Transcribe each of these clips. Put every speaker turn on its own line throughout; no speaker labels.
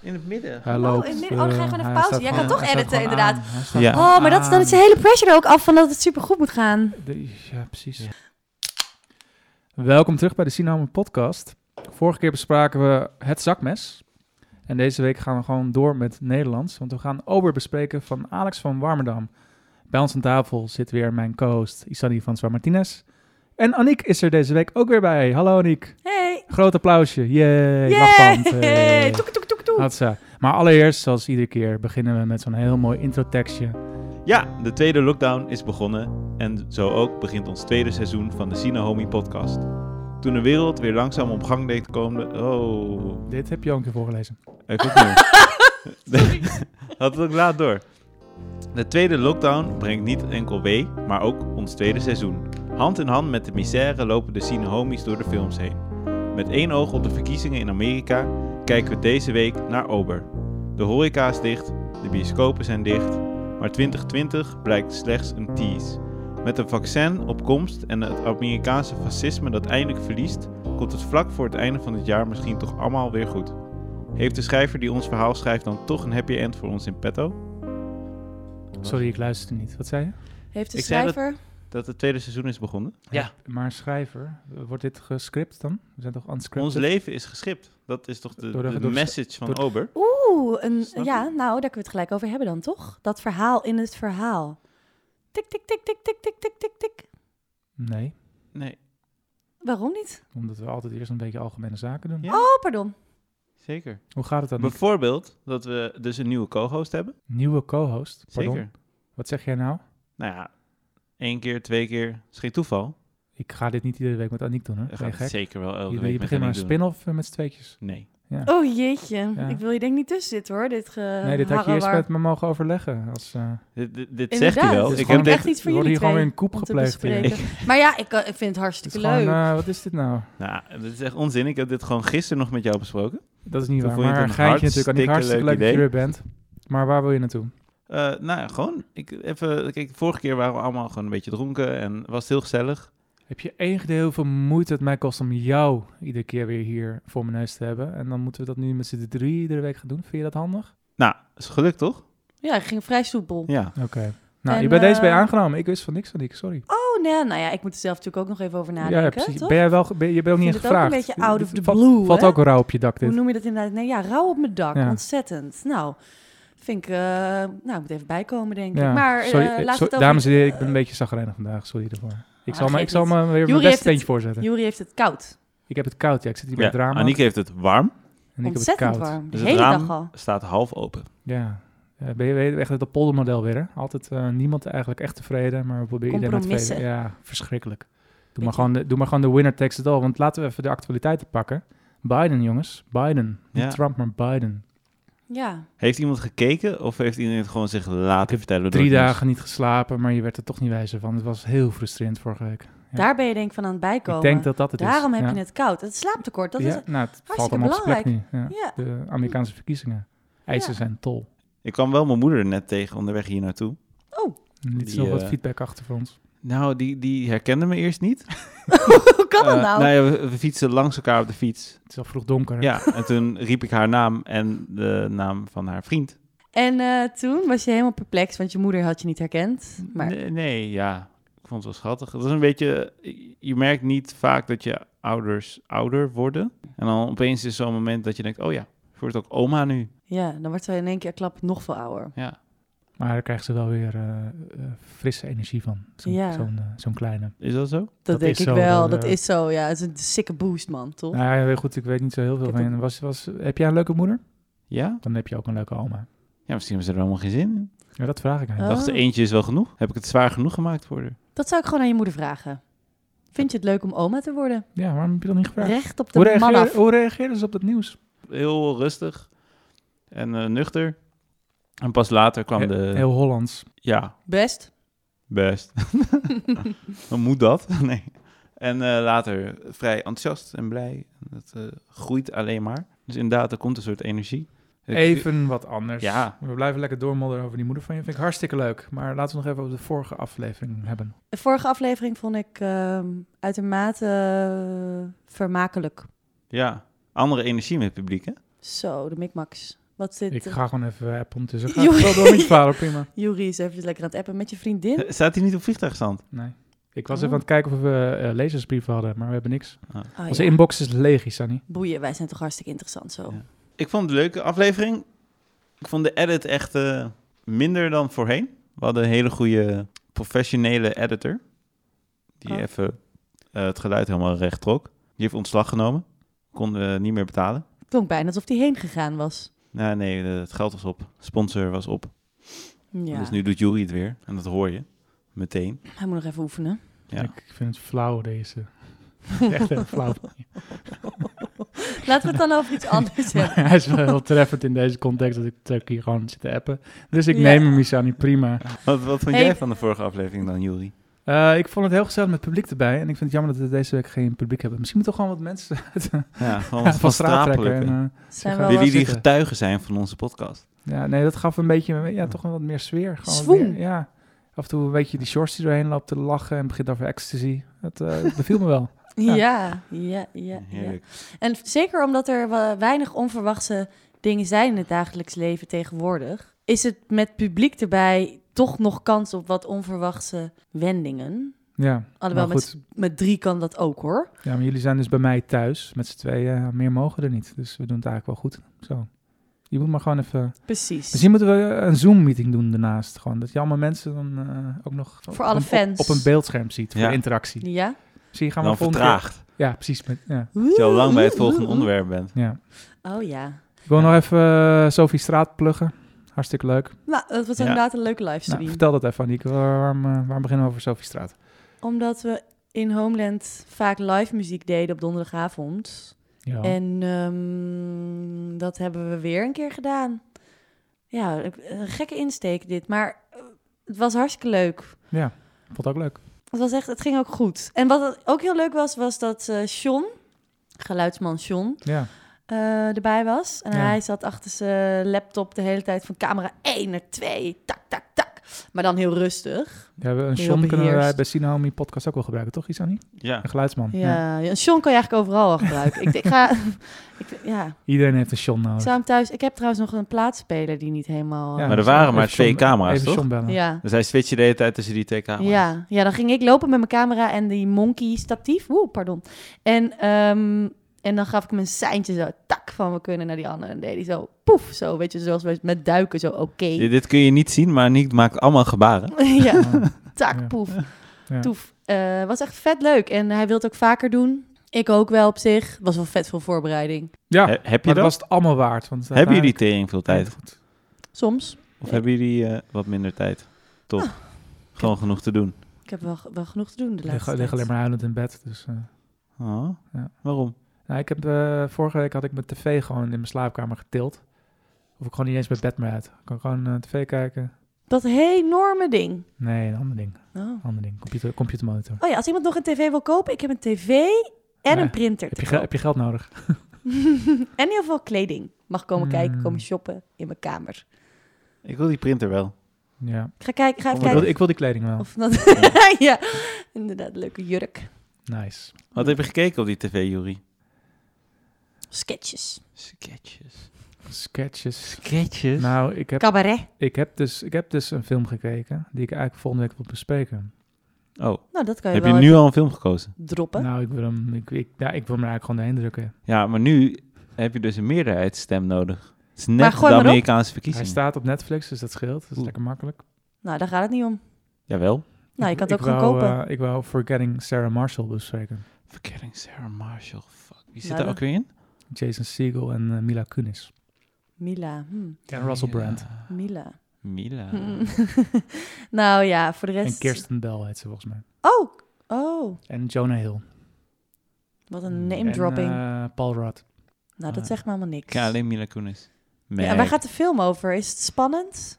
in het midden.
Hij
Oh,
loopt.
in midden-
eh,
oh, dan ga je gewoon even
hij
pauze.
staat
Jij kan
gewoon-
toch
hij staat
editen,
gewoon
inderdaad.
aan. Hij staat
Ja.
Oh, maar dat is, dan is de
aan.
hele pressure er ook af van dat het supergoed moet gaan.
De- ja, precies. Welkom terug bij de Sinamen podcast. Vorige keer bespraken we het zakmes. En deze week gaan we gewoon door met Nederlands. Want we gaan Ober bespreken van Alex van Warmerdam. Bij ons aan tafel zit weer mijn co-host Isani van Zwaar Martinez. En Aniek is er deze week ook weer bij. Hallo Aniek.
Hey.
Groot applausje. Yay. lachband.
Yay.
Hey. Ah,
Toek, toek, toek, toek.
Hatsa. Maar allereerst, zoals iedere keer, beginnen we met zo'n heel mooi introtekstje.
Ja, de tweede lockdown is begonnen en zo ook begint ons tweede seizoen van de Sinahomi podcast. Toen de wereld weer langzaam op gang deed komen... Oh,
Dit heb je al een keer voorgelezen.
ik ook nu. Had het ook laat door. De tweede lockdown brengt niet enkel wee, maar ook ons tweede seizoen. Hand in hand met de misère lopen de Sinahomies door de films heen. Met één oog op de verkiezingen in Amerika kijken we deze week naar Ober. De horeca is dicht, de bioscopen zijn dicht, maar 2020 blijkt slechts een tease. Met een vaccin op komst en het Amerikaanse fascisme dat eindelijk verliest, komt het vlak voor het einde van het jaar misschien toch allemaal weer goed. Heeft de schrijver die ons verhaal schrijft dan toch een happy end voor ons in petto?
Sorry, ik luisterde niet. Wat zei je?
Heeft de
Ik zei dat-
schrijver...
Dat het tweede seizoen is begonnen.
Ja.
Maar schrijver, wordt dit gescript dan? We zijn toch unscripted?
Ons leven is geschipt. Dat is toch de,
Door de-
de
door de-
message van
door de-
Ober?
Oeh, een,
Snap je?
ja, nou, daar kunnen we het gelijk over hebben dan, toch? Dat verhaal in het verhaal. Tik, tik, tik, tik, tik, tik, tik, tik, tik.
Nee,
Nee,
Waarom niet?
omdat we altijd eerst een beetje algemene zaken doen.
Ja.
Oh, pardon.
zeker.
Hoe gaat het dan?
Bijvoorbeeld dat we dus een nieuwe co-host hebben.
Nieuwe co-host? Pardon?
Zeker.
Wat zeg jij nou?
Nou ja, één keer, twee keer. Is geen toeval.
Ik ga dit niet iedere week met Aniek doen, hè?
We
Ben
gaan
je
het
gek?
zeker wel elke
Je,
week met
je begint maar een
Henk doen.
spin-off eh, met z'n tweetjes.
Nee.
Oh, jeetje.
Ja.
Ik wil je denk ik niet tussen zitten, hoor. Dit ge...
Eh,
nee, dit had je eerst
harrewar.
met me mogen overleggen. Als, eh,
Dit, dit- dit zegt
Inderdaad,
hij wel.
het is
Ik
gewoon
heb
echt
tegen...
iets voor
er wordt
jullie
hier gewoon weer
twee
een koep
om te
gepleegd hier.
bespreken. Maar ja, ik, eh, ik vind het
Het
hartstikke
is gewoon,
leuk.
eh, wat is dit nou?
Nou, dit is echt onzin. Ik heb dit gewoon gisteren nog met jou besproken.
Dat is niet
Toen
waar.
vond je
Maar
het
een
een
geintje natuurlijk. Aniek,
hartstikke
hartstikke leuk
leuk
dat je
idee.
er bent. Maar waar wil je naartoe?
Eh, nou ja, gewoon. Ik, even, kijk, vorige keer waren we allemaal gewoon een beetje dronken en was het heel gezellig.
Heb je één gedeelte heel veel moeite het mij kost om jou iedere keer weer hier voor mijn neus te hebben? En dan moeten we dat nu met z'n drie iedere week gaan doen. Vind je dat handig?
Nou, is gelukt toch?
eh,
Ja, ik ging vrij soepel.
Ja.
Oké. Nou,
En,
je bent deze bij
eh,
aangenomen. Ik wist van niks van niks, sorry.
Oh, nee, nou ja, ik moet er zelf natuurlijk ook nog even over nadenken, toch?
Ben jij wel, ge- ben, je bent ook niet
Ik
eens
vind het ook
gevraagd.
een beetje out of
Dit
the
valt-
blue,
Valt
hè?
ook rauw op je dak dit.
Hoe noem je dat inderdaad? Nee, ja, rauw op mijn dak.
Ja.
Ontzettend. Nou, vind ik... eh, nou, ik moet even bijkomen, denk
Ja,
ik. Maar eh,
sorry, eh,
laat
sorry,
het over... Eh,
dames en heren, ik ben een beetje zagrijnig vandaag. Sorry daarvoor. Ik
Ah,
zal, me, ik
geeft
zal
niet.
me weer
Joeri
mijn
heeft
beste
het-
steentje voorzetten.
Jury heeft het koud.
Ik heb het koud, ja. Ik zit hier
ja.
met drama.
Aniek heeft het warm.
en ik heb het
Ontzettend
koud.
warm. De
Dus
hele
het raam
dag al.
staat half open.
Ja. Eh, ben je weet echt het poldermodel weer, hè? Altijd eh, niemand eigenlijk echt tevreden, maar we proberen iedereen te
Compromissen.
tevreden. Ja, verschrikkelijk. Doe
Beetje.
maar, gewoon de, doe maar gewoon de winner takes it all, want laten we even de actualiteiten pakken. Biden, jongens. Biden. Niet
Ja.
Trump, maar Biden.
Ja.
Heeft iemand gekeken of heeft iedereen het gewoon zich laten vertellen? door
Drie
het nieuws?
dagen niet geslapen, maar je werd er toch niet wijzer van. Het was heel frustrerend vorige week. Ja.
daar ben je denk ik van aan het bijkomen.
Ik denk dat dat het is.
Daarom heb
Ja.
je het koud. Het slaaptekort, dat is...
ja, nou, het valt allemaal op zijn plek nu. Ja.
Ja.
De Amerikaanse verkiezingen. Eisen
Ja.
zijn tol.
Ik kwam wel mijn moeder net tegen onderweg hier naartoe.
Oh,
Niet
Die,
zo wat
eh,
feedback achter voor ons.
Nou, die, die herkende me eerst niet.
hoe kan dat
Eh,
nou?
ja, we, we fietsen langs elkaar op de fiets.
Het is al vroeg donker. hè?
Ja, en toen riep ik haar naam en de naam van haar vriend.
En eh, toen was je helemaal perplex, want je moeder had je niet herkend. Maar
Nee, nee, ja. Ik vond het wel schattig. Het was een beetje... Je merkt niet vaak dat je ouders ouder worden. En dan opeens is zo'n moment dat je denkt... Oh ja, ik word ook oma nu.
ja, dan wordt ze in één keer klap nog veel ouder.
Ja.
Maar daar krijgen ze wel weer eh, eh, frisse energie van. Zo'n
Ja.
zo'n, eh, zo'n kleine.
Is dat zo?
Dat,
Dat
denk
is
ik
zo,
wel.
dat,
Dat,
eh,
is zo, ja. Het is een sikke boost, man, toch?
Nou ja, heel goed, ik weet niet zo heel veel
Ik
van
heb
je. Was, was, heb jij een leuke moeder?
Ja?
Dan heb je ook een leuke oma.
Ja, misschien hebben ze er allemaal geen zin in.
Ja, dat vraag ik aan je.
Ik dacht,
Oh.
eentje is wel genoeg. Heb ik het zwaar genoeg gemaakt voor haar?
Dat zou ik gewoon aan je moeder vragen. Vind je het leuk om oma te worden?
Ja, oh. waarom heb je dat niet gevraagd?
Recht op
Hoe,
de man
reageer,
af.
hoe reageerden ze op dat nieuws?
Heel rustig en eh, nuchter. En pas later kwam
He-
de...
Heel Hollands.
Ja,
Best.
best. Dan moet dat. Nee. En eh, later vrij enthousiast en blij. En Dat eh, groeit alleen maar. Dus inderdaad, er komt een soort energie. Ik-
Even wat anders.
Ja.
We blijven lekker doormodderen over die moeder van je. Vind ik hartstikke leuk. Maar laten we nog even over de vorige aflevering hebben.
De vorige aflevering vond ik ehm, uitermate eh, vermakelijk.
Ja, andere energie met het publiek, hè?
Zo, de Micmacs. Wat zit...
Ik
eh,
ga gewoon even appen ondertussen. Ga
Joe.
ik wel door met je vader, prima.
Joeri is even lekker aan het appen met je vriendin.
Staat hij niet op vliegtuigstand?
Nee. Ik was
Oh.
even aan het kijken of we eh, lezersbrieven hadden, maar we hebben niks.
Oh,
Onze
ja.
inbox is leeg, is dat niet?
Boeien, wij zijn toch hartstikke interessant zo.
Ja. Ik vond het een leuke aflevering. Ik vond de edit echt eh, minder dan voorheen. We hadden een hele goede professionele editor. Die
Oh.
even eh, het geluid helemaal recht trok. Die heeft ontslag genomen. Konden we niet meer betalen.
Klonk bijna alsof die heen gegaan was.
Nou, nee, eh, het geld was op. Sponsor was op.
Ja,
Dus nu doet Jury het weer. En dat hoor je meteen.
hij moet nog even oefenen.
Ja.
Ik vind het flauw, deze. Echt heel flauw.
Laten we het dan over iets anders hebben.
Maar hij is wel heel treffend in deze context dat ik, dat ik hier gewoon zit te appen. Dus ik
Ja.
neem hem, Isani, prima.
Wat, wat vond
Hey.
jij van de vorige aflevering dan, Jury?
Eh, ik vond het heel gezellig met publiek erbij. En ik vind het jammer dat we deze week geen publiek hebben. Misschien moeten we gewoon wat mensen uit de-
Ja, gewoon
van straat trekken.
strapelijke.
en, eh,
Zijn
Zeg,
wel
Wil
Jullie
wat...
die
zitten.
getuigen zijn van onze podcast.
ja, nee, dat gaf een beetje ja, toch een wat meer sfeer. Gewoon wat
Swoon.
meer- ja, af en toe een beetje die shorts die doorheen loopt te lachen en begint over ecstasy. Dat eh, beviel me wel.
Ja, ja, ja, ja.
Heerlijk.
En zeker omdat er wa- weinig onverwachte dingen zijn in het dagelijks leven tegenwoordig, is het met publiek erbij toch nog kans op wat onverwachte wendingen.
Ja,
Alhoewel,
maar
Nou,
met,
goed.
s- met drie kan dat ook hoor.
Ja, maar jullie zijn dus bij mij thuis met z'n tweeën. Ja, meer mogen er niet. Dus we doen het eigenlijk wel goed. Zo. Je moet maar gewoon even...
Precies.
Misschien moeten we eh, een Zoom-meeting doen daarnaast. Gewoon dat je allemaal mensen dan eh, ook nog op-
Voor alle
op,
fans.
Op, een beeldscherm ziet. Voor
Ja.
interactie.
Ja?
Zie je, gaan we
Dan
volgende keer-
vertraagd.
Ja, precies. Met, ja.
Dat je al lang bij het volgende onderwerp bent.
Ja.
Oh ja.
Ik wil nog even eh, Sophie Straat pluggen. Hartstikke leuk.
Nou, dat was
Ja.
inderdaad een leuke
Nou,
livestream.
vertel dat even, Aniek. Waarom, eh, waarom beginnen we over Sophie Straat?
Omdat we in Homeland vaak live muziek deden op donderdagavond.
Ja.
En ehm, dat hebben we weer een keer gedaan. Ja, een gekke insteek dit. Maar eh, het was hartstikke leuk.
ja, vond het ook leuk.
Het, was echt, het ging ook goed. En wat ook heel leuk was, was dat eh Sean, geluidsman Sean,
Ja.
eh, erbij was. En
Ja.
hij zat achter zijn laptop de hele tijd van camera 1 naar 2. Tak, tak, tak. Maar dan heel rustig.
ja we, een
Heel
John kunnen we
beheerst.
bij Sinahomi podcast ook wel gebruiken, toch, Isani?
Ja.
Een geluidsman.
Ja, ja. Sean kan je eigenlijk overal wel gebruiken. ik, ik ga... Ik, ja,
Iedereen heeft een John
ik
nodig.
zou hem thuis... Ik heb trouwens nog een plaatspeler die niet helemaal...
Oh. Ja,
eh,
Maar er
dus
waren
even
maar twee
John-
camera's,
even
toch?
John bellen.
ja.
Dus hij switchte de hele tijd tussen die twee camera's.
Ja, ja, dan ging ik lopen met mijn camera en die monkey statief. Woe, pardon. En, ehm, en dan gaf ik hem een seintje zo, tak, van we kunnen naar die andere. En deed hij zo, poef, zo, weet je, zoals we met duiken, zo, oké.
Dit, dit kun je niet zien, maar Nick maakt allemaal gebaren.
ja,
Ja.
tak,
Ja.
poef,
Ja.
toef. Eh, was echt vet leuk en hij wil het ook vaker doen. Ik ook wel op zich. Was wel vet veel voorbereiding.
Ja,
He- heb je
maar
dat?
dat was het allemaal waard. Want eh,
Hebben jullie tering veel tijd?
goed?
Soms.
Of hebben jullie eh, wat minder tijd? Top.
Ah.
Gewoon genoeg te doen.
Ik heb wel, wel genoeg te doen de
Ik lig,
laatste
lig
tijd.
alleen maar huilend in bed. Dus, eh.
Oh.
Ja.
Waarom?
nou, ik heb, eh, vorige week had ik mijn tv gewoon in mijn slaapkamer getild. Of ik gewoon niet eens mijn bed meer uit. Ik kan gewoon eh, tv kijken.
Dat enorme ding.
Nee, een ander ding.
Oh.
Ander ding. Computer, computermonitor.
oh ja, als iemand nog een tv wil kopen, ik heb een tv en
Nee.
een printer.
Heb
te
je, gel- heb je geld nodig?
en heel veel kleding. Mag komen
Mm.
kijken, komen shoppen in mijn kamer.
Ik wil die printer wel.
Ja.
Ik ga kijken, ga
Oh,
even
Ik
maar
wil,
kijken
ik wil die kleding wel.
of dat... ja, inderdaad, leuke jurk.
Nice.
Wat heb je gekeken op die tv, Jury?
Sketches.
Sketches.
Sketches.
Sketches?
Nou, ik heb,
Cabaret.
ik, heb dus, ik heb dus een film gekeken die ik eigenlijk volgende week wil bespreken.
oh,
Nou, dat kan je
heb je
wel
nu al een film gekozen?
even droppen.
Nou, ik wil hem, ik, ik, ja, ik wil hem er eigenlijk gewoon doorheen drukken.
Ja, maar nu heb je dus een meerderheidsstem nodig. Het is
Maar
net
gooi
de
maar op.
Amerikaanse
Hij
verkiezingen.
staat op Netflix, dus dat scheelt. Dat is
Oeh.
lekker makkelijk.
Nou, daar gaat het niet om.
Jawel.
Nou, je
Ik-
kan het
ik
ook gewoon
wou,
kopen.
eh, ik wou Forgetting Sarah Marshall dus bespreken.
Verkering Sarah Marshall. Fuck. Wie zit
Nou,
daar
dat-
ook weer in?
Jason Segel en eh, Mila Kunis.
Mila. hmm,
En Russell
Mila.
Brand.
Mila.
Mila.
Hmm. nou ja, voor de rest...
En Kirsten Bell heet ze volgens mij.
Oh, oh.
En Jonah Hill.
Wat een name dropping.
En eh, Paul Rudd.
nou, dat
ah.
zegt me helemaal niks.
Ik ken alleen Mila Kunis.
Ja, en waar
Meg.
gaat de film over? Is het spannend?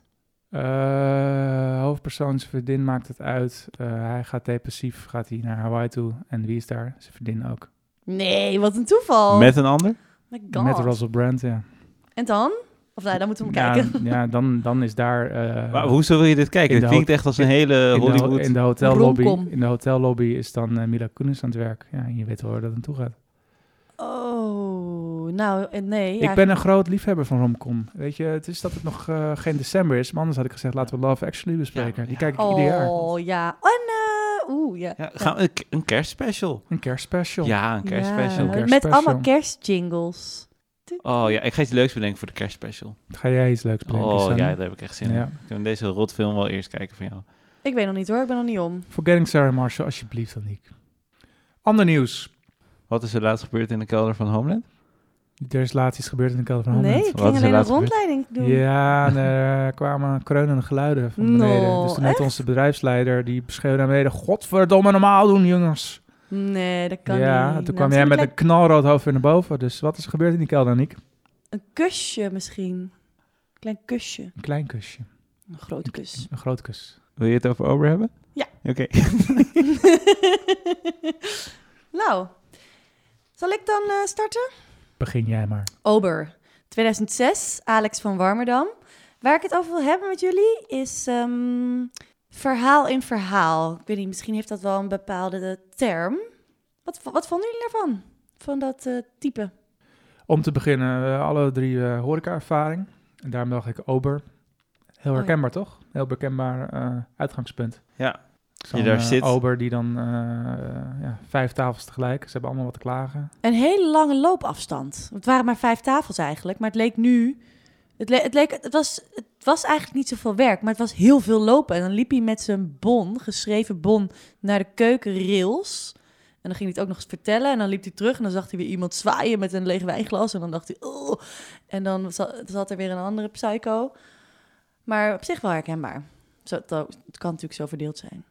Eh hoofdpersoon, zijn vriendin maakt het uit. Eh, hij gaat depressief, gaat hij naar Hawaii toe. En wie is daar? Zijn vriendin ook.
Nee, wat een toeval.
Met een ander?
My God.
Met Russell Brand, ja.
En dan? Of nou, dan moeten we hem
Ja,
kijken.
ja dan, dan is daar... eh,
Maar hoezo wil je dit kijken?
in
Dit
de
klinkt echt als een hele
in de ho-
Hollywood...
In de hotellobby,
Romcom.
in de hotellobby is dan eh, Mila Kunis aan het werk. Ja, en je weet wel waar dat aan toe gaat.
Oh, nou, eh, nee. ja,
Ik ben een groot liefhebber van romcom. Weet je, het is dat het nog eh, geen december is. Maar anders had ik gezegd, laten we Love Actually bespreken.
Ja,
Die
ja.
kijk ik
Oh,
ieder jaar.
ja. En, eh, oeh, ja.
Ja, gaan we een, k- een kerstspecial.
Een kerstspecial.
Ja, een kerstspecial.
Ja,
Een
Met
kerstspecial.
allemaal kerstjingles.
Oh ja, ik ga iets leuks bedenken voor de kerstspecial.
Ga jij iets leuks bedenken?
Oh
Sanne?
ja, daar heb ik echt zin in.
Ja.
Ik kan deze rotfilm wel eerst kijken van jou.
Ik weet nog niet hoor, ik ben nog niet om.
Forgetting Sarah Marshall, alsjeblieft, Aniek. Ander nieuws.
Wat is er laatst gebeurd in de kelder van Homeland?
Er is laatst iets gebeurd in de kelder van Homeland.
nee, ik
Wat
ging
is er
alleen een
later gebeurd?
rondleiding doen.
Ja, en er kwamen kreunende geluiden van beneden.
No,
dus toen heeft onze bedrijfsleider, die beschreeuwde naar beneden... Godverdomme, normaal doen, jongens.
Nee, dat kan
ja,
niet.
toen
Nou,
kwam jij met
natuurlijk
een knalrood hoofd weer naar boven. Dus wat is er gebeurd in die kelder, Aniek?
Een kusje misschien. Klein kusje.
Een klein kusje.
Een groot kus.
Een groot kus.
Wil je het over Ober hebben?
Ja.
Oké.
nou, zal ik dan eh, starten?
Begin jij maar.
Ober, 2006, Alex van Warmerdam. Waar ik het over wil hebben met jullie is ehm, verhaal in verhaal. Ik weet niet, misschien heeft dat wel een bepaalde eh, term. Wat, vo- wat vonden jullie daarvan? Van dat eh, type?
Om te beginnen, eh, alle drie eh horeca-ervaring. En daarom dacht ik Ober. Heel
ja.
herkenbaar, toch? Heel bekendbaar eh, uitgangspunt.
Ja.
Zo'n,
Je daar
eh,
zit.
Ober die dan eh, eh, ja, vijf tafels tegelijk. Ze hebben allemaal wat te klagen.
Een hele lange loopafstand. Het waren maar vijf tafels eigenlijk, maar het leek nu... Het, le- het, leek, het, was, het was eigenlijk niet zoveel werk, maar het was heel veel lopen. En dan liep hij met zijn bon, geschreven bon, naar de keukenrails. En dan ging hij het ook nog eens vertellen. En dan liep hij terug en dan zag hij weer iemand zwaaien met een leeg wijnglas. En dan dacht hij, oh. En dan zat, zat er weer een andere psycho. Maar op zich wel herkenbaar. Zo, het, het kan natuurlijk zo verdeeld zijn.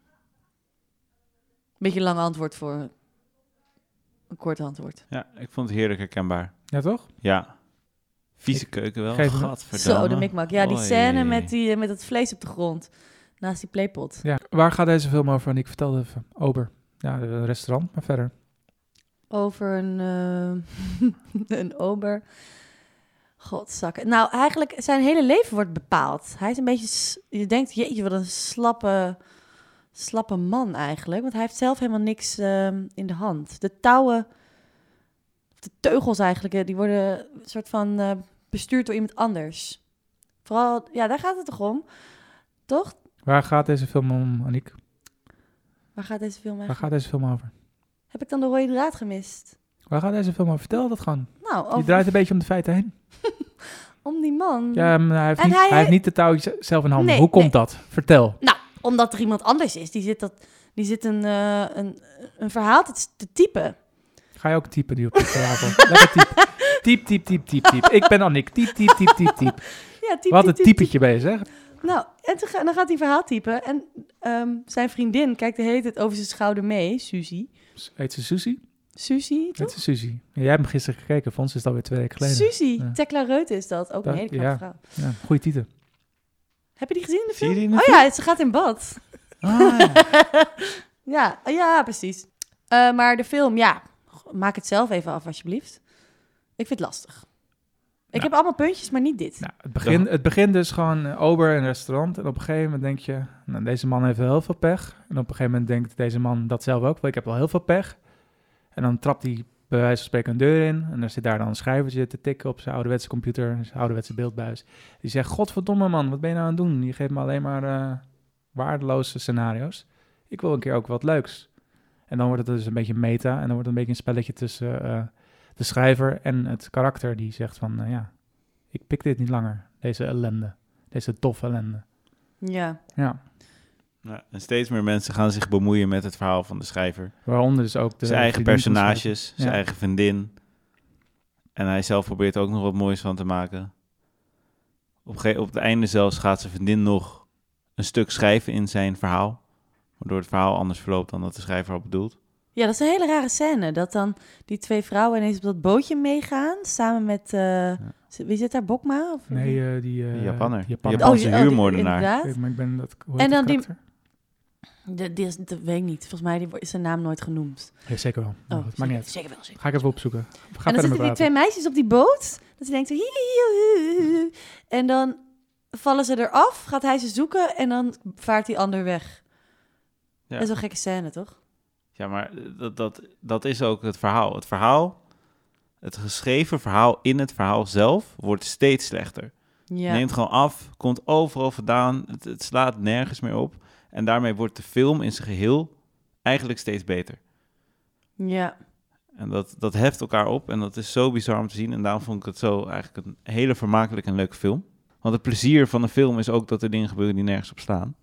Beetje een lang antwoord voor een kort antwoord.
Ja, ik vond het heerlijk herkenbaar.
Ja, toch?
Ja. Vieze keuken wel.
geef hem-
Gadverdamme.
Zo, de mikmak. Ja, die
Oei.
scène met, die, eh, met dat vlees op de grond. Naast die playpot.
Ja. Waar gaat deze film over? En ik vertelde even. Ober. Ja, een restaurant, maar verder.
Over een, eh, een ober. Godzakken. Nou, eigenlijk zijn hele leven wordt bepaald. Hij is een beetje... s- Je denkt, jeetje, wat een slappe, slappe man eigenlijk. Want hij heeft zelf helemaal niks ehm, in de hand. De touwen... of De teugels eigenlijk, eh, die worden een soort van eh, bestuurd door iemand anders. Vooral, ja, daar gaat het toch om? Toch?
Waar gaat deze film om, Aniek?
Waar gaat deze film
Waar
eigenlijk
gaat deze film over?
Heb ik dan de rode draad gemist?
Waar gaat deze film over? Vertel dat gewoon.
Nou,
Die
over-
draait een beetje om de feiten heen.
om die man.
Ja, maar hij heeft,
Mm. En
niet,
hij-
hij heeft niet de touwtjes zelf in handen.
Nee,
Hoe komt
nee.
dat? Vertel.
Nou, Omdat er iemand anders is. Die zit, dat, die zit een, eh, een, een verhaal te, te typen.
Ga je ook typen die op de tafel? Lekker typen. Typ, typ, typ, typ, typ. Ik ben Annick. Typ, typ, typ, typ, typ.
Ja, typ,
Wat
typ,
een
typ,
typetje ben je, zeg.
typ. Nou, en toen ga- dan gaat hij verhaal typen. En ehm, zijn vriendin kijkt de hele tijd over zijn schouder mee. Suzy.
Heet ze Suzy?
Suzy,
Heet
toch?
ze Suzy. Ja, jij hebt hem gisteren gekeken. Voor ons is dat weer twee weken geleden.
Oh. Suzy.
Ja.
Tekla Reuten is dat. Ook een
Dat-
hele knappe
ja.
vrouw.
Ja, goeie titel.
Heb je die gezien in de
Zie je
film?
die in de
Oh ja, ze gaat in bad.
Ah, ja.
ja, oh ja, precies. Eh, maar de film, ja, g- maak het zelf even af alsjeblieft. Ik vind het lastig. Ik
Nou.
heb allemaal puntjes, maar niet dit.
Nou, het, begin, het begint dus gewoon eh, ober in een restaurant. En op een gegeven moment denk je, nou, deze man heeft wel heel veel pech. En op een gegeven moment denkt deze man dat zelf ook. wel, Ik heb wel heel veel pech. En dan trapt hij bij wijze van spreken een deur in. En dan zit daar dan een schrijvertje te tikken op zijn ouderwetse computer. Zijn ouderwetse beeldbuis. Die zegt, godverdomme man, wat ben je nou aan het doen? Je geeft me alleen maar eh, waardeloze scenario's. Ik wil een keer ook wat leuks. En dan wordt het dus een beetje meta. En dan wordt het een beetje een spelletje tussen eh, de schrijver en het karakter. Die zegt van, nou ja, ik pik dit niet langer. Deze ellende. Deze doffe ellende.
Ja.
Ja.
Ja, Nou, en steeds meer mensen gaan zich bemoeien met het verhaal van de schrijver.
Waaronder dus ook de...
zijn eigen
vriendin van de
personages, zijn
Ja.
eigen vriendin. En hij zelf probeert er ook nog wat moois van te maken. Op, ge- op het einde zelfs gaat zijn vriendin nog een stuk schrijven in zijn verhaal. Waardoor het verhaal anders verloopt dan dat de schrijver had bedoeld.
Ja, dat is een hele rare scène. Dat dan die twee vrouwen ineens op dat bootje meegaan. Samen met. eh, z- Wie zit daar? Bokma? Of Oh,
schrijver. Nee, eh, die... eh,
De Japanner.
die
De Japanse
die- die-
huurmoordenaar.
Inderdaad.
Ik, maar ik ben dat... Hoe
Oh, En
en
dan
dan
die-
karakter?
De, die is, dat weet ik niet. Volgens mij die wo- is zijn naam nooit genoemd.
Ja, zeker wel. Maar
Oh,
goed, Nou, maakt niet uit.
zeker wel. Zeker.
Ga ik even opzoeken. Ga
En dan
verder
zitten
met
die
praten.
twee meisjes op die boot. Dat ze denkt. zo, "Hi, hi, hi, hi, hi." En dan vallen ze eraf. Gaat hij ze zoeken. En dan vaart die ander weg.
Ja.
Dat is wel een gekke scène, toch?
Ja, maar dat, dat, dat is ook het verhaal. Het verhaal, Het geschreven verhaal in het verhaal zelf wordt steeds slechter.
Ja.
Neemt gewoon af, komt overal vandaan, het, het slaat nergens meer op. En daarmee wordt de film in zijn geheel eigenlijk steeds beter.
ja.
En dat, dat heft elkaar op en dat is zo bizar om te zien. En daarom vond ik het zo eigenlijk een hele vermakelijk en leuke film. Want het plezier van een film is ook dat er dingen gebeuren die nergens op staan.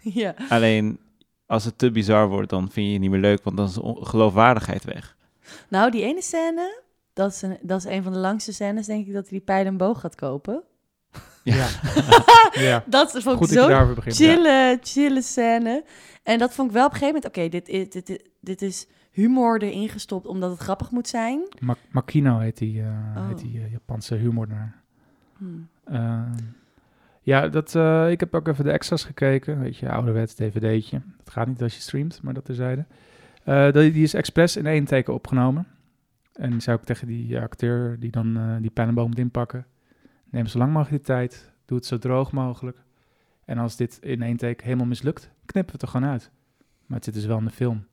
ja.
Alleen als het te bizar wordt, dan vind je het niet meer leuk, want dan is de on- geloofwaardigheid weg.
Nou, die ene scène, dat is een, dat is een van de langste scènes, denk ik, dat hij die pijl en boog gaat kopen.
Ja. ja.
Dat vond ik
Goed dat je
zo
daarover begint. ja.
chille, chille scène. En dat vond ik wel op een gegeven moment, oké, dit dit, dit, dit, dit is humor erin gestopt omdat het grappig moet zijn.
Ma- Makino heet die, eh,
Oh.
heet die eh, Japanse humornaar.
Hm.
Ehm, ja, dat, eh, ik heb ook even de extras gekeken. Weet je, ouderwets dvd'tje. Dat gaat niet als je streamt, maar dat terzijde. Eh, dat- die is expres in één teken opgenomen. En die zou ik tegen die eh, acteur die dan eh, die pijlenboom moet inpakken. Neem zo lang mogelijk de tijd. Doe het zo droog mogelijk. En als dit in één teken helemaal mislukt, knippen we het er gewoon uit. Maar het zit dus wel in de film.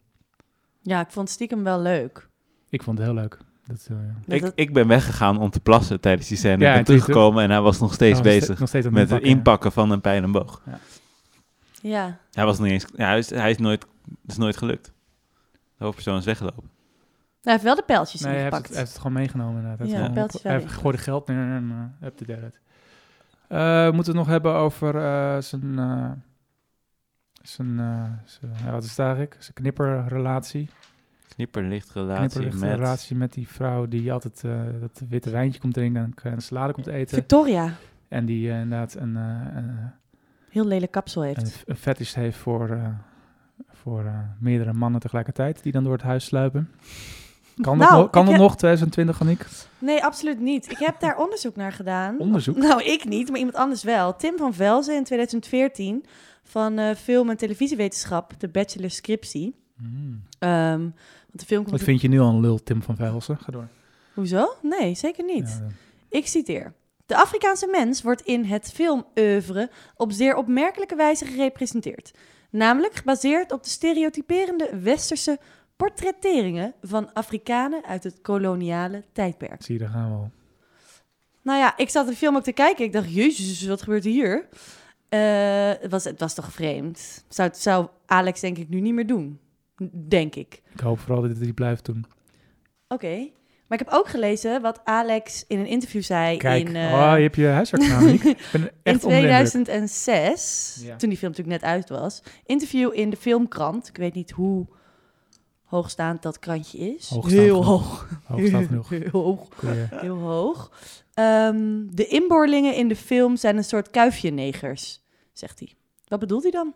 Ja, ik vond het stiekem wel leuk.
Ik vond het heel leuk. Dat, eh,
Dat
Ik,
het-
ik ben weggegaan om te plassen tijdens die scène.
Ja,
ik ben
het is
teruggekomen en hij was nog steeds
nog ste-
bezig
nog steeds aan
met het
inpakken.
inpakken van een pijl en boog.
ja.
Hij was nog niet eens, ja, hij is, hij is nooit, het is nooit gelukt. De hoofdpersoon is weggelopen.
Nou, hij heeft wel de pijltjes
Nee, hij heeft, het, hij
ingepakt.
heeft het gewoon meegenomen inderdaad. Hij
Ja,
heeft gewoon-
pijltjes
hij heeft
wel
gegooid geld neer en eh, up to date. Eh, moeten we het nog hebben over eh, zijn... eh, zijn, eh zijn ja, wat is het eigenlijk? Zijn knipperrelatie.
Knipperlichtrelatie met...
Knipperrelatie met die vrouw die altijd eh, dat witte wijntje komt drinken en een salade komt eten.
Victoria,
En die eh, inderdaad een, eh, een,
heel lelijk kapsel
een,
heeft.
een fetish heeft voor, eh, voor eh, meerdere mannen tegelijkertijd die dan door het huis sluipen. Kan dat,
Nou,
nog, kan
ik
dat
heb-
nog 2020, Aniek?
Nee, absoluut niet. Ik heb daar onderzoek naar gedaan.
Onderzoek?
Nou, ik niet, maar iemand anders wel. Tim van Velzen in 2014 van eh, film- en televisiewetenschap, de bachelor scriptie.
Hmm.
Ehm, want de film komt...
Wat vind je nu al een lul, Tim van Velsen? Ga door.
Hoezo? Nee, zeker niet.
Ja, dan-
Ik citeer. De Afrikaanse mens wordt in het filmœuvre op zeer opmerkelijke wijze gerepresenteerd. Namelijk gebaseerd op de stereotyperende westerse portretteringen van Afrikanen uit het koloniale tijdperk.
zie je, daar gaan we al.
Nou ja, ik zat de film ook te kijken. Ik dacht, jezus, wat gebeurt hier? Eh, het, was, het was toch vreemd? Zou, zou Alex denk ik nu niet meer doen. Denk ik.
Ik hoop vooral dat hij die blijft doen.
Oké. Maar ik heb ook gelezen wat Alex in een interview zei
Kijk,
in... eh,
oh, je hebt je huisarts namelijk. Ik ben
In
echt onder de indruk.
2006,
Ja.
toen die film natuurlijk net uit was, interview in de filmkrant. Ik weet niet hoe hoogstaand dat krantje is.
Hoogstaand
heel
genoeg.
hoog.
Hoogstaand genoeg.
Heel hoog.
Kun je-
Heel hoog. Ehm, de inboorlingen in de film zijn een soort kuifje-negers, zegt hij. Wat bedoelt hij dan?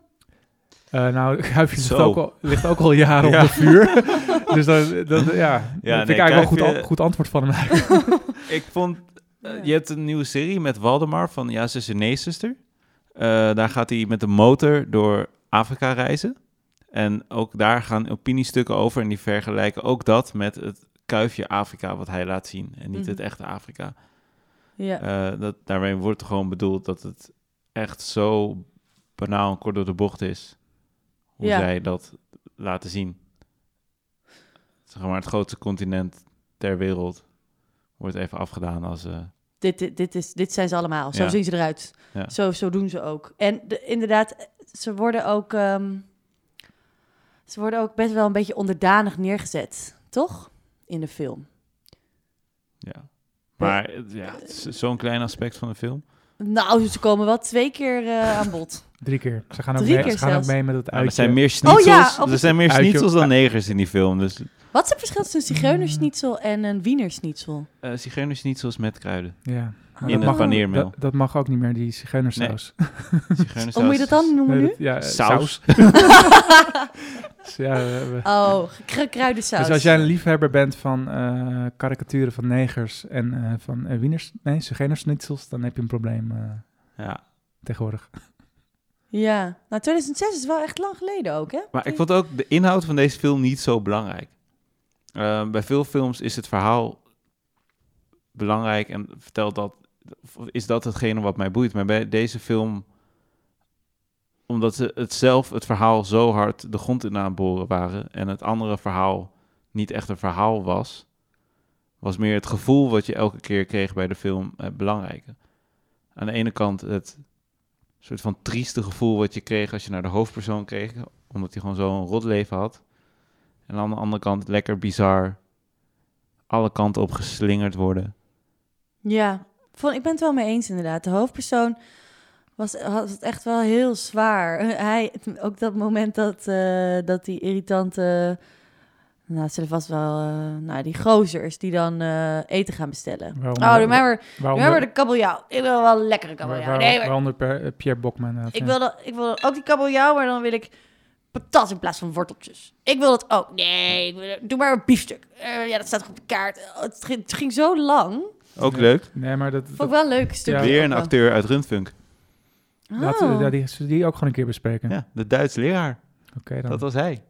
Eh, nou, Kuifje ligt
Zo.
ook, al, ligt ook al jaren
Ja.
onder vuur. dus dat, dat, ja, dat
nee, eh,
vind ik eigenlijk wel een goed,
Kuifje-
an- goed antwoord van hem. eigenlijk.
Ik vond... eh,
Ja.
Je hebt een nieuwe serie met Waldemar van Ja, zuster, nee, zuster. Eh, daar gaat hij met de motor door Afrika reizen. En ook daar gaan opiniestukken over en die vergelijken ook dat met het kuifje Afrika wat hij laat zien en niet
Mhm.
het echte Afrika.
Ja.
Eh, dat, daarmee wordt gewoon bedoeld dat het echt zo banaal en kort door de bocht is. Hoe
Ja.
zij dat laten zien. Zeg maar, het grootste continent ter wereld wordt even afgedaan als... eh,
Dit, dit, dit, is, dit zijn ze allemaal. Zo
Ja.
zien ze eruit.
Ja.
Zo, zo doen ze ook. En de- inderdaad, ze worden ook, ehm, ze worden ook best wel een beetje onderdanig neergezet, toch? In de film.
ja. Maar eh, ja, het is zo'n klein aspect van de film.
Nou, ze komen wel twee keer eh, aan bod.
Drie keer. Ze gaan ook,
Drie
mee,
keer
ze gaan ook
zelfs.
mee met het
Maar er
uitje.
zijn meer schnitzels,
Oh ja, op-
er zijn meer
Uitje-
schnitzels dan negers in die film. Dus
Wat is het verschil tussen een
Hmm.
zigeunersnietsel en een wienersnietsel?
eh schnitzels met kruiden.
Ja. Maar
In
dat
een
mag-
paneermeel.
Dat, dat mag ook niet meer, die zigeunersaus.
Hoe Oh, moet je dat dan noemen
Nee,
nu?
dat- ja,
Saus.
saus. ja, we hebben-
Oh, gekru- kruidensaus.
Dus als jij een liefhebber bent van eh karikaturen van negers en eh, van eh, wieners, nee, zigeunersnitzels, dan heb je een probleem eh,
Ja.
tegenwoordig.
Ja, nou 2006 is wel echt lang geleden ook, hè?
Maar ik vond ook de inhoud van deze film niet zo belangrijk. Eh, bij veel films is het verhaal belangrijk en vertelt dat, of is dat hetgene wat mij boeit. Maar bij deze film, omdat ze het zelf, het verhaal zo hard de grond in aan het boren waren en het andere verhaal niet echt een verhaal was, was meer het gevoel wat je elke keer kreeg bij de film eh, belangrijker. Aan de ene kant het soort van trieste gevoel wat je kreeg als je naar de hoofdpersoon kreeg, omdat hij gewoon zo'n rot leven had. En aan de andere kant lekker bizar, alle kanten op geslingerd worden.
Ja, vond, ik ben het wel mee eens inderdaad. De hoofdpersoon was, had het echt wel heel zwaar. Hij, ook dat moment dat, eh, dat die irritante... Nou, het zullen vast wel... eh, nou, die gozers die dan eh, eten gaan bestellen.
Waarom-
oh, doe mij maar, doe mij maar
Waaronder,
de kabeljauw. Ik wil wel een lekkere
waar-
kabeljauw.
waar-
nee, maar
waaronder per- eh, Pierre Bokman. inderdaad,
ik,
ja.
wil dat, ik wil ook die kabeljauw, maar dan wil ik patat in plaats van worteltjes. Ik wil dat ook. Nee, ik wil- doe maar een biefstuk. Eh, ja, dat staat toch op de kaart. Oh, het, ging, het ging zo lang.
Ook
Ja.
leuk.
Nee, maar dat,
Vond ik wel een leuk stukje.
Ja.
Weer een
ook wel.
acteur uit Rundfunk.
Oh.
laten we ja, die, die ook gewoon een keer bespreken.
Ja, de Duits leraar.
Oké, dan.
Dat was hij.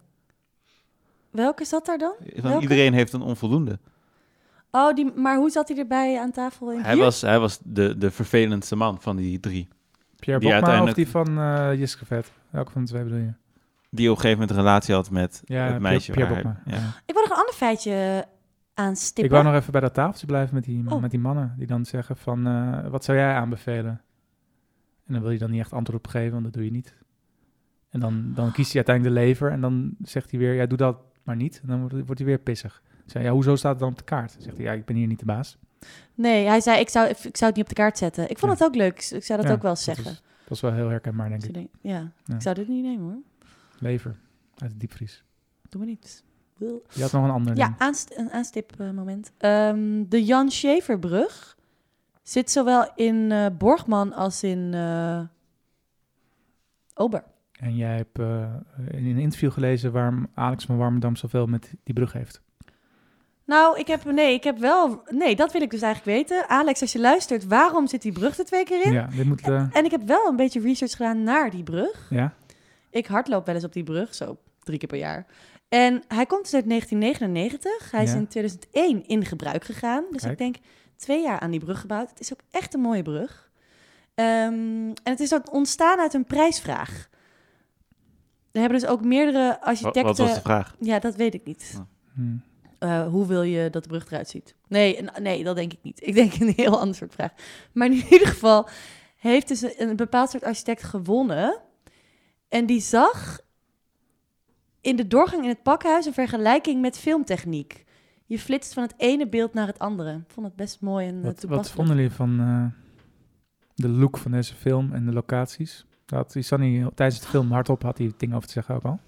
Welke zat daar dan?
Van
Welke?
iedereen heeft een onvoldoende.
Oh, die, maar hoe zat hij erbij aan tafel? In
Hij
hier?
was, hij was de, de vervelendste man van die drie.
Pierre
die
Bokma
uiteindelijk-
of die van eh Jiske Vet? Welke van de twee bedoel je?
Die op een gegeven moment een relatie had met
Ja,
het
Pierre-
meisje.
Pierre
waar hij-
Bokma.
ja.
Ik wil nog een ander feitje aanstippen.
Ik wou nog even bij dat tafeltje blijven met die,
Oh.
met die mannen. Die dan zeggen van, eh, wat zou jij aanbevelen? En dan wil je dan niet echt antwoord op geven, want dat doe je niet. En dan, dan kiest hij uiteindelijk de lever en dan zegt hij weer, ja, doe dat maar niet. En dan wordt, wordt hij weer pissig. Ik Zei, ja, hoezo staat het dan op de kaart? Dan Zegt hij, ja, ik ben hier niet de baas.
Nee, hij zei ik zou, ik zou het niet op de kaart zetten. Ik vond het ook leuk. Ik zou dat
Ja,
ook wel eens
Dat
zeggen.
is, dat is wel heel herkenbaar, denk
Dus ik
ik.
denk, ja,
Ja.
ik zou dit niet nemen hoor.
Lever uit de diepvries.
Doe maar niet. Wil-
Je had nog een ander
Ja,
ding.
aanst, een aanstipmoment. Ehm de Jan Scheverbrug zit zowel in eh, Borgman als in eh, Ober.
En jij hebt eh, in een interview gelezen waarom Alex van Warmerdam zoveel met die brug heeft.
Nou, ik heb, nee, ik heb wel... Nee, dat wil ik dus eigenlijk weten. Alex, als je luistert, waarom zit die brug er twee keer in?
Ja, dit moet... eh,
En ik heb wel een beetje research gedaan naar die brug.
ja?
Ik hardloop wel eens op die brug, zo drie keer per jaar. En hij komt dus uit 1999. Hij is
Ja.
in 2001 in gebruik gegaan. Dus
Kijk.
ik denk twee jaar aan die brug gebouwd. Het is ook echt een mooie brug. Ehm, en het is ook ontstaan uit een prijsvraag. Er hebben dus ook meerdere
Wa-
architecten...
Wat, was de vraag?
Ja, dat weet ik niet.
Hm.
Eh, hoe wil je dat de brug eruit ziet? Nee, n- nee, dat denk ik niet. Ik denk een heel ander soort vraag. Maar in ieder geval heeft dus een, een bepaald soort architect gewonnen. En die zag in de doorgang in het pakhuis een vergelijking met filmtechniek. Je flitst van het ene beeld naar het andere. Ik vond het best mooi en eh,
Wat, wat
toepasselijk.
vonden jullie van eh, de look van deze film en de locaties? Daar had die Sunny eh, tijdens het film hardop had hij het ding over te zeggen ook al.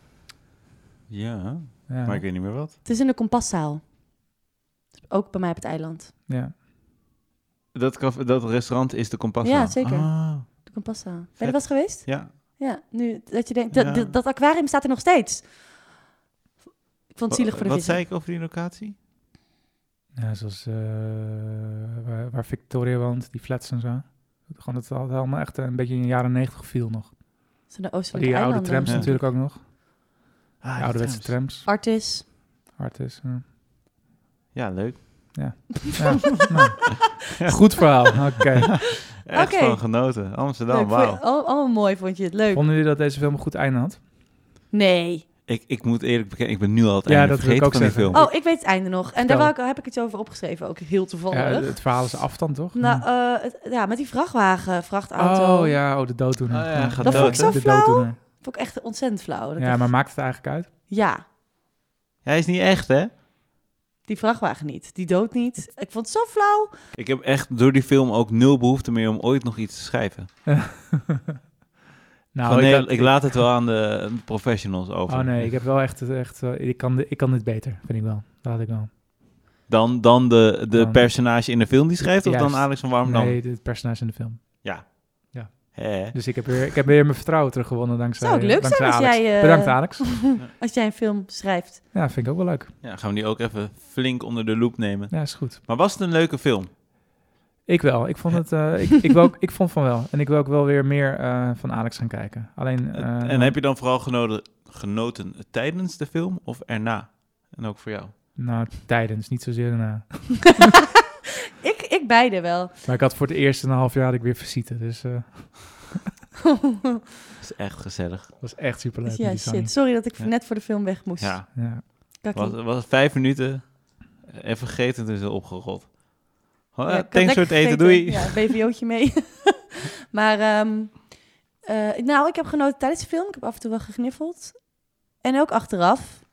Ja,
Ja,
maar ik weet niet meer wat.
Het is in de kompaszaal. Ook bij mij op het eiland.
ja.
Dat, caf- dat restaurant is de kompas.
Ja, zeker.
Ah,
De kompaszaal. Ben je
Vet.
er wel eens geweest?
ja.
Ja, nu dat je denkt... dat-
Ja.
dat- dat aquarium staat er nog steeds. Ik vond het zielig voor de
Wat
vissen.
zei ik over die locatie?
ja zoals eh, waar, waar Victoria woont, die flats en zo. Gewoon dat het altijd allemaal echt een beetje in de jaren negentig viel nog.
Zijn de oostelijke
Die oude
eilanden.
trams
Ja.
natuurlijk ook nog.
Ah,
De
die
ouderwetse
trams.
trams.
Artis.
Hard is. ja.
Ja, leuk.
Ja, nou. Goed verhaal. Oké.
Echt
Oké.
van genoten. Amsterdam,
Leuk,
wauw.
vond je- al- allemaal mooi, vond je het leuk?
Vonden jullie dat deze film een goed einde had?
Nee.
Ik, ik moet eerlijk bekennen, ik ben nu al het
Ja,
einde
dat wil ik
vergeten
ook
van die
zeggen.
film.
Oh, ik weet het einde nog. En daar
Vertel.
wou ik, heb ik iets over opgeschreven, ook heel
Ja,
toevallig.
het het verhaal is afstand, toch? Hm.
nou, eh, het- ja, met die vrachtwagen, vrachtauto.
Oh ja, oh, de dooddoener.
Oh ja, gaat
Dat vond
dood,
ik zo
hè?
de
flauw.
dooddoener.
Vond ik echt ontzettend flauw. Dat
Ja,
ik-
maar maakt het eigenlijk uit?
ja,
Oh.
Hij is niet echt, hè?
die vrachtwagen niet. Die dood niet. Ik vond het zo flauw.
Ik heb echt door die film ook nul behoefte meer om ooit nog iets te schrijven.
nou,
Van, nee,
had-
ik, laat het wel aan de professionals over.
Oh nee, ik heb wel echt... echt eh, ik, kan, di- ik kan dit beter, vind ik wel. Dat had ik wel.
Dan, dan de, de
Dan-
personage in de film die schrijft, of
Juist.
dan Alex van Warmerdam?
Nee, het personage in de film.
Hè?
Dus ik heb weer, ik heb weer mijn vertrouwen teruggewonnen dankzij
Zou het leuk
dankzij
zijn als
Alex.
jij, eh,
Bedankt Alex.
Als jij een film schrijft.
Ja, vind ik ook wel leuk.
Ja, gaan we die ook even flink onder de loep nemen.
Ja, is goed.
Maar was het een leuke film?
Ik wel. Ik vond het... eh, ik, ik, wil ook, ik vond van wel. En ik wil ook wel weer meer eh, van Alex gaan kijken. Alleen... eh,
en heb je dan vooral genoten, genoten tijdens de film of erna? En ook voor jou.
Nou, tijdens. Niet zozeer daarna.
Ik, ik beide wel.
Maar ik had voor het eerst in een half jaar had ik weer visite. Dus eh
Dat is echt gezellig.
dat was echt superleuk.
Dus
met
ja,
die Sunny.
shit. Sorry dat ik
Ja.
net voor de film weg moest.
Ja,
Ja.
Kakkie.
was, was vijf minuten. eh, En vergeten toen ze opgerold. Gewoon,
Oh
eh,
Ja, ik had
thanks voor
lekker
het eten,
gegeten.
doei.
Ja, BVO'tje mee. maar, ehm, eh, nou, ik heb genoten tijdens de film. Ik heb af en toe wel gegniffeld. En ook achteraf.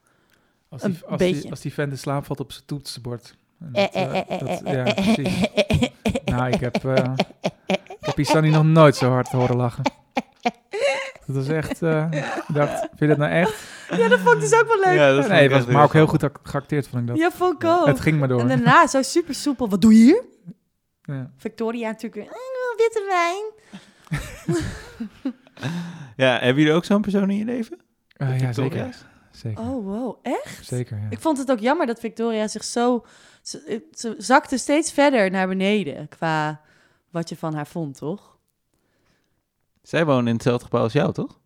Als
Een
die, als,
beetje.
die, als die vent in slaap valt op zijn toetsenbord. En dat,
Eh,
eh,
eh, eh,
dat-
eh,
Ja,
eh, eh,
precies.
eh, eh, eh, eh.
Nou, ik heb, eh ik heb Pisani nog nooit zo hard horen lachen. Dat was echt... eh, ik dacht, vind je dat nou echt?
Ja, dat vond ik dus ook wel leuk.
Ja, dat vond
nee,
ik
was
echt
maar ook heel goed ac- geacteerd, vond ik dat.
Ja, vond ik ook.
Het ging maar door.
En daarna zo super soepel. Wat doe je hier?
Ja.
Victoria natuurlijk weer. "Ah, Ik wil witte wijn.
Ja, hebben jullie ook zo'n persoon in je leven?
Eh, ja,
Victoria?
zeker. Zeker,
Oh, wow. Echt?
zeker ja.
Ik vond het ook jammer dat Victoria zich zo... Ze, ze zakte steeds verder naar beneden qua wat je van haar vond, toch?
Zij wonen in hetzelfde gebouw als jou, toch?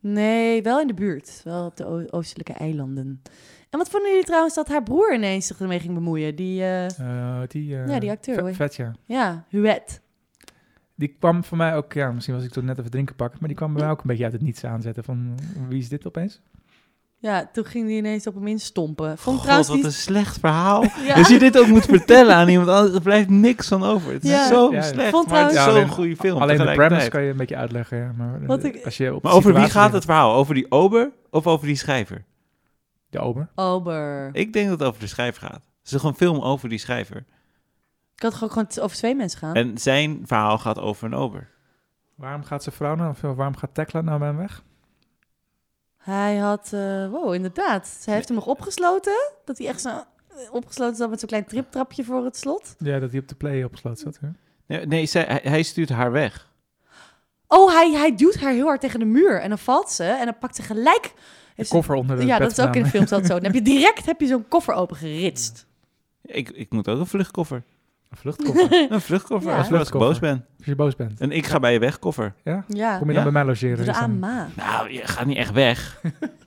Nee, wel in de buurt. Wel op de o- oostelijke eilanden. En wat vonden jullie trouwens dat haar broer ineens zich ermee ging bemoeien? Die, eh,
Eh, die, eh,
Ja, die acteur,
Ve-
hoor.
Vet, ja.
ja, Huet.
Die kwam voor mij ook, ja, misschien was ik toen net even drinken pakken, maar die kwam bij mij ook een beetje uit het niets aanzetten van wie is dit opeens?
Ja, toen ging die ineens op hem instompen. Vond
God,
ik trouwens
wat
die...
een slecht verhaal.
Ja.
Als je dit ook moet vertellen aan iemand anders, er blijft niks van over. Het is
Ja.
zo
Ja, ja.
slecht,
Vond
maar het is
trouwens-
zo'n
Ja,
goede film
Alleen de
tegelijkertijd.
premise kan je een beetje uitleggen, ja, maar eh,
Wat ik-
als je op
Maar
de
over wie
situatie
gaat het
zit-
verhaal? Over die ober of over die schrijver?
De ober.
Ober.
Ik denk dat het over de schrijver gaat. Het is toch een film over die schrijver.
Ik had gewoon gewoon t- over twee mensen gaan.
En zijn verhaal gaat over een ober.
Waarom gaat zijn vrouw nou, of waarom gaat Tekla nou bij hem weg?
Hij had, eh, wow, inderdaad. Ze heeft hem nog opgesloten. Dat hij echt zo eh, opgesloten zat met zo'n klein triptrapje voor het slot.
Ja, dat hij op de play opgesloten zat. Hè?
Nee, nee zij- hij, hij stuurt haar weg.
Oh, hij, hij duwt haar heel hard tegen de muur. En dan valt ze en dan pakt ze gelijk...
De
heeft ze-
koffer onder de
eh,
ja,
bed
dat is ook in de
gedaan.
film zat zo. Dan heb je direct heb je zo'n koffer open geritst.
Ik, ik moet ook een vluchtkoffer.
Een vluchtkoffer.
Een vluchtkoffer, als,
Ja.
als ik
Vluchtkoffer.
boos ben.
Als je boos bent.
En ik ga bij je weg, koffer.
Ja?
Ja,
Kom je
Ja.
dan bij mij logeren?
door de
is dan-
AMA.
Nou, je gaat niet echt weg.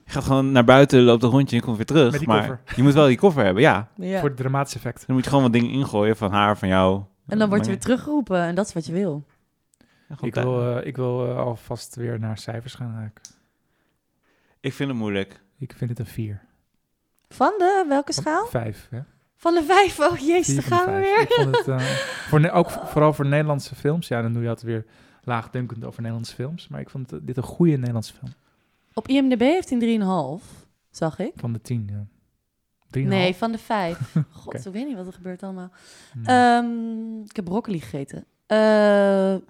Je gaat gewoon naar buiten, loopt een rondje en komt weer terug.
Met die
maar
koffer.
je moet wel die koffer hebben, ja.
Ja.
Voor het dramatische effect.
Dan moet je gewoon wat dingen ingooien van haar, van jou.
En dan word je
Maar-
weer teruggeroepen en dat is wat je wil.
Ja, gewoon
Ik
daar.
wil, eh, ik wil eh, alvast weer naar cijfers gaan eigenlijk.
ik vind het moeilijk.
Ik vind het een 4.
Van de welke schaal?
5, hè?
Van de vijf. Oh jezus,
Vier
daar
van
gaan
de
we
vijf.
weer.
Ik vond het, eh, voor Ne- ook vooral voor Nederlandse films. Ja, dan doe je altijd weer laagdunkend over Nederlandse films. Maar ik vond het- eh, dit een goede Nederlandse film.
Op IMDb heeft hij 3,5, zag ik.
Van de tien, ja. Drieënhalf?
Nee, van de vijf. God,
Oké.
ik weet niet wat er gebeurt allemaal.
Hmm.
Ehm, ik heb broccoli gegeten. Eh, ik-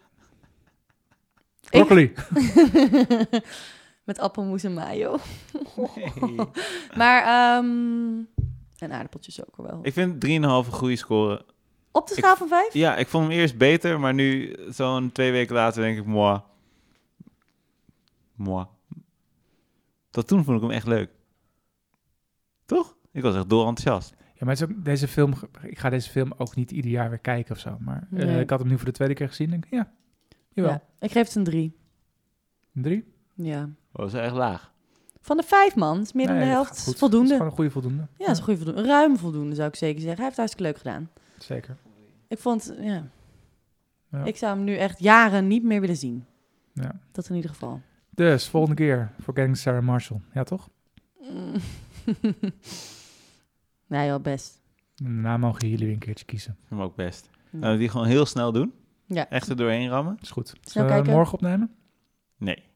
Broccoli.
met appelmoes en mayo. Oh. Maar, ehm, en aardappeltjes ook wel.
Ik vind 3,5 een goede score.
Op de
ik-
schaal van vijf?
Ja, ik vond hem eerst beter, maar nu zo'n twee weken later denk ik, moi. Moi. Tot toen vond ik hem echt leuk. Toch? Ik was echt doorenthousiast.
Ja, maar het is ook, deze film, ik ga deze film ook niet ieder jaar weer kijken of zo. Maar eh,
Nee.
ik had hem nu voor de tweede keer gezien. Denk, ik, ja, jawel.
Ja, ik geef het een drie.
Een Drie?
Ja.
Oh, dat is echt laag.
Van de vijf man, is meer dan
Nee,
de
dat
helft.
gaat
is
goed. Het is
Voldoende.
gewoon een goede voldoende.
Ja, dat is een goede voldoende. Ruim voldoende zou ik zeker zeggen. Hij heeft het hartstikke leuk gedaan.
Zeker.
Ik vond, ja.
Ja.
Ik zou hem nu echt jaren niet meer willen zien.
Ja.
Dat in ieder geval.
Dus, volgende keer Forgetting Sarah Marshall. Ja, toch?
Mm. nee, wel best.
Daarna mogen jullie weer een keertje kiezen.
Ik vind hem ook best.
Ja.
Nou, die gewoon heel snel doen.
Ja.
Echt er doorheen rammen?
Is goed.
Snel
Zullen we
kijken.
Eh, morgen opnemen?
Nee.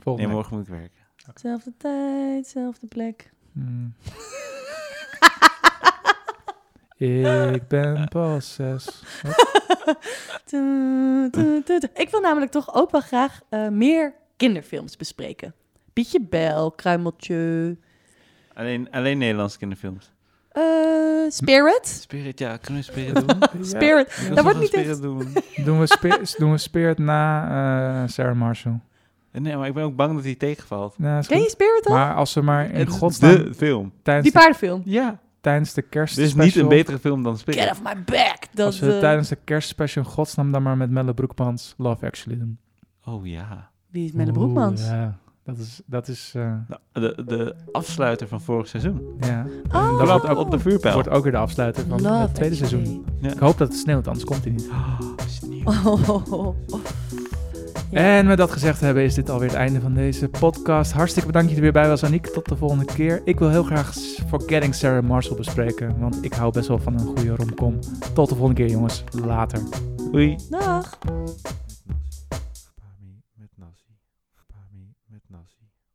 Volgende
Nee,
week.
morgen moet ik werken.
Zelfde tijd, zelfde plek.
Hmm. ik ben pas zes.
Tu, tu, tu, tu. Ik wil namelijk toch ook wel graag eh, meer kinderfilms bespreken. Pietje Bel, Kruimeltje,
Alleen, alleen Nederlandse kinderfilms.
eh, Spirit.
Spirit, ja. Kunnen we Spirit doen?
Spirit.
Ja,
Daar wordt
we
niet
gaan
echt...
Spirit doen.
Doen we, spe- doen we Spirit na eh, Sarah Marshall.
Nee, maar ik ben ook bang dat hij tegenvalt.
Nou, is
Ken je
goed.
Spirit al?
Maar als ze maar in
Het is
godsnaam
de film.
tijdens,
Die
de,
paardenfilm.
Ja.
tijdens de kerst
Er is niet een betere film dan Spirit.
Get off my back. Dat,
Als ze
eh,
tijdens de kerstspecial in godsnaam dan maar met Melle Broekmans Love Actually doen.
Oh ja.
Wie is Melle
Oeh,
Broekmans?
ja. Dat is, dat is, eh,
Nou, de, de afsluiter van vorig seizoen.
ja.
Oh.
Dat
Klap op de vuurpijl.
wordt ook weer de afsluiter van
Love
het tweede
Actually.
seizoen.
Ja.
Ik hoop dat het sneeuwt, anders komt hij niet.
Oh, sneeuw.
Oh, oh, oh, oh.
En met dat gezegd hebben is dit alweer het einde van deze podcast. Hartstikke bedankt dat je er weer bij was, Aniek. Tot de volgende keer. Ik wil heel graag Forgetting Sarah Marshall bespreken, want ik hou best wel van een goede romcom. Tot de volgende keer, jongens. Later.
Oei.
Dag.
Met nasi. Met nasi. Met nasi.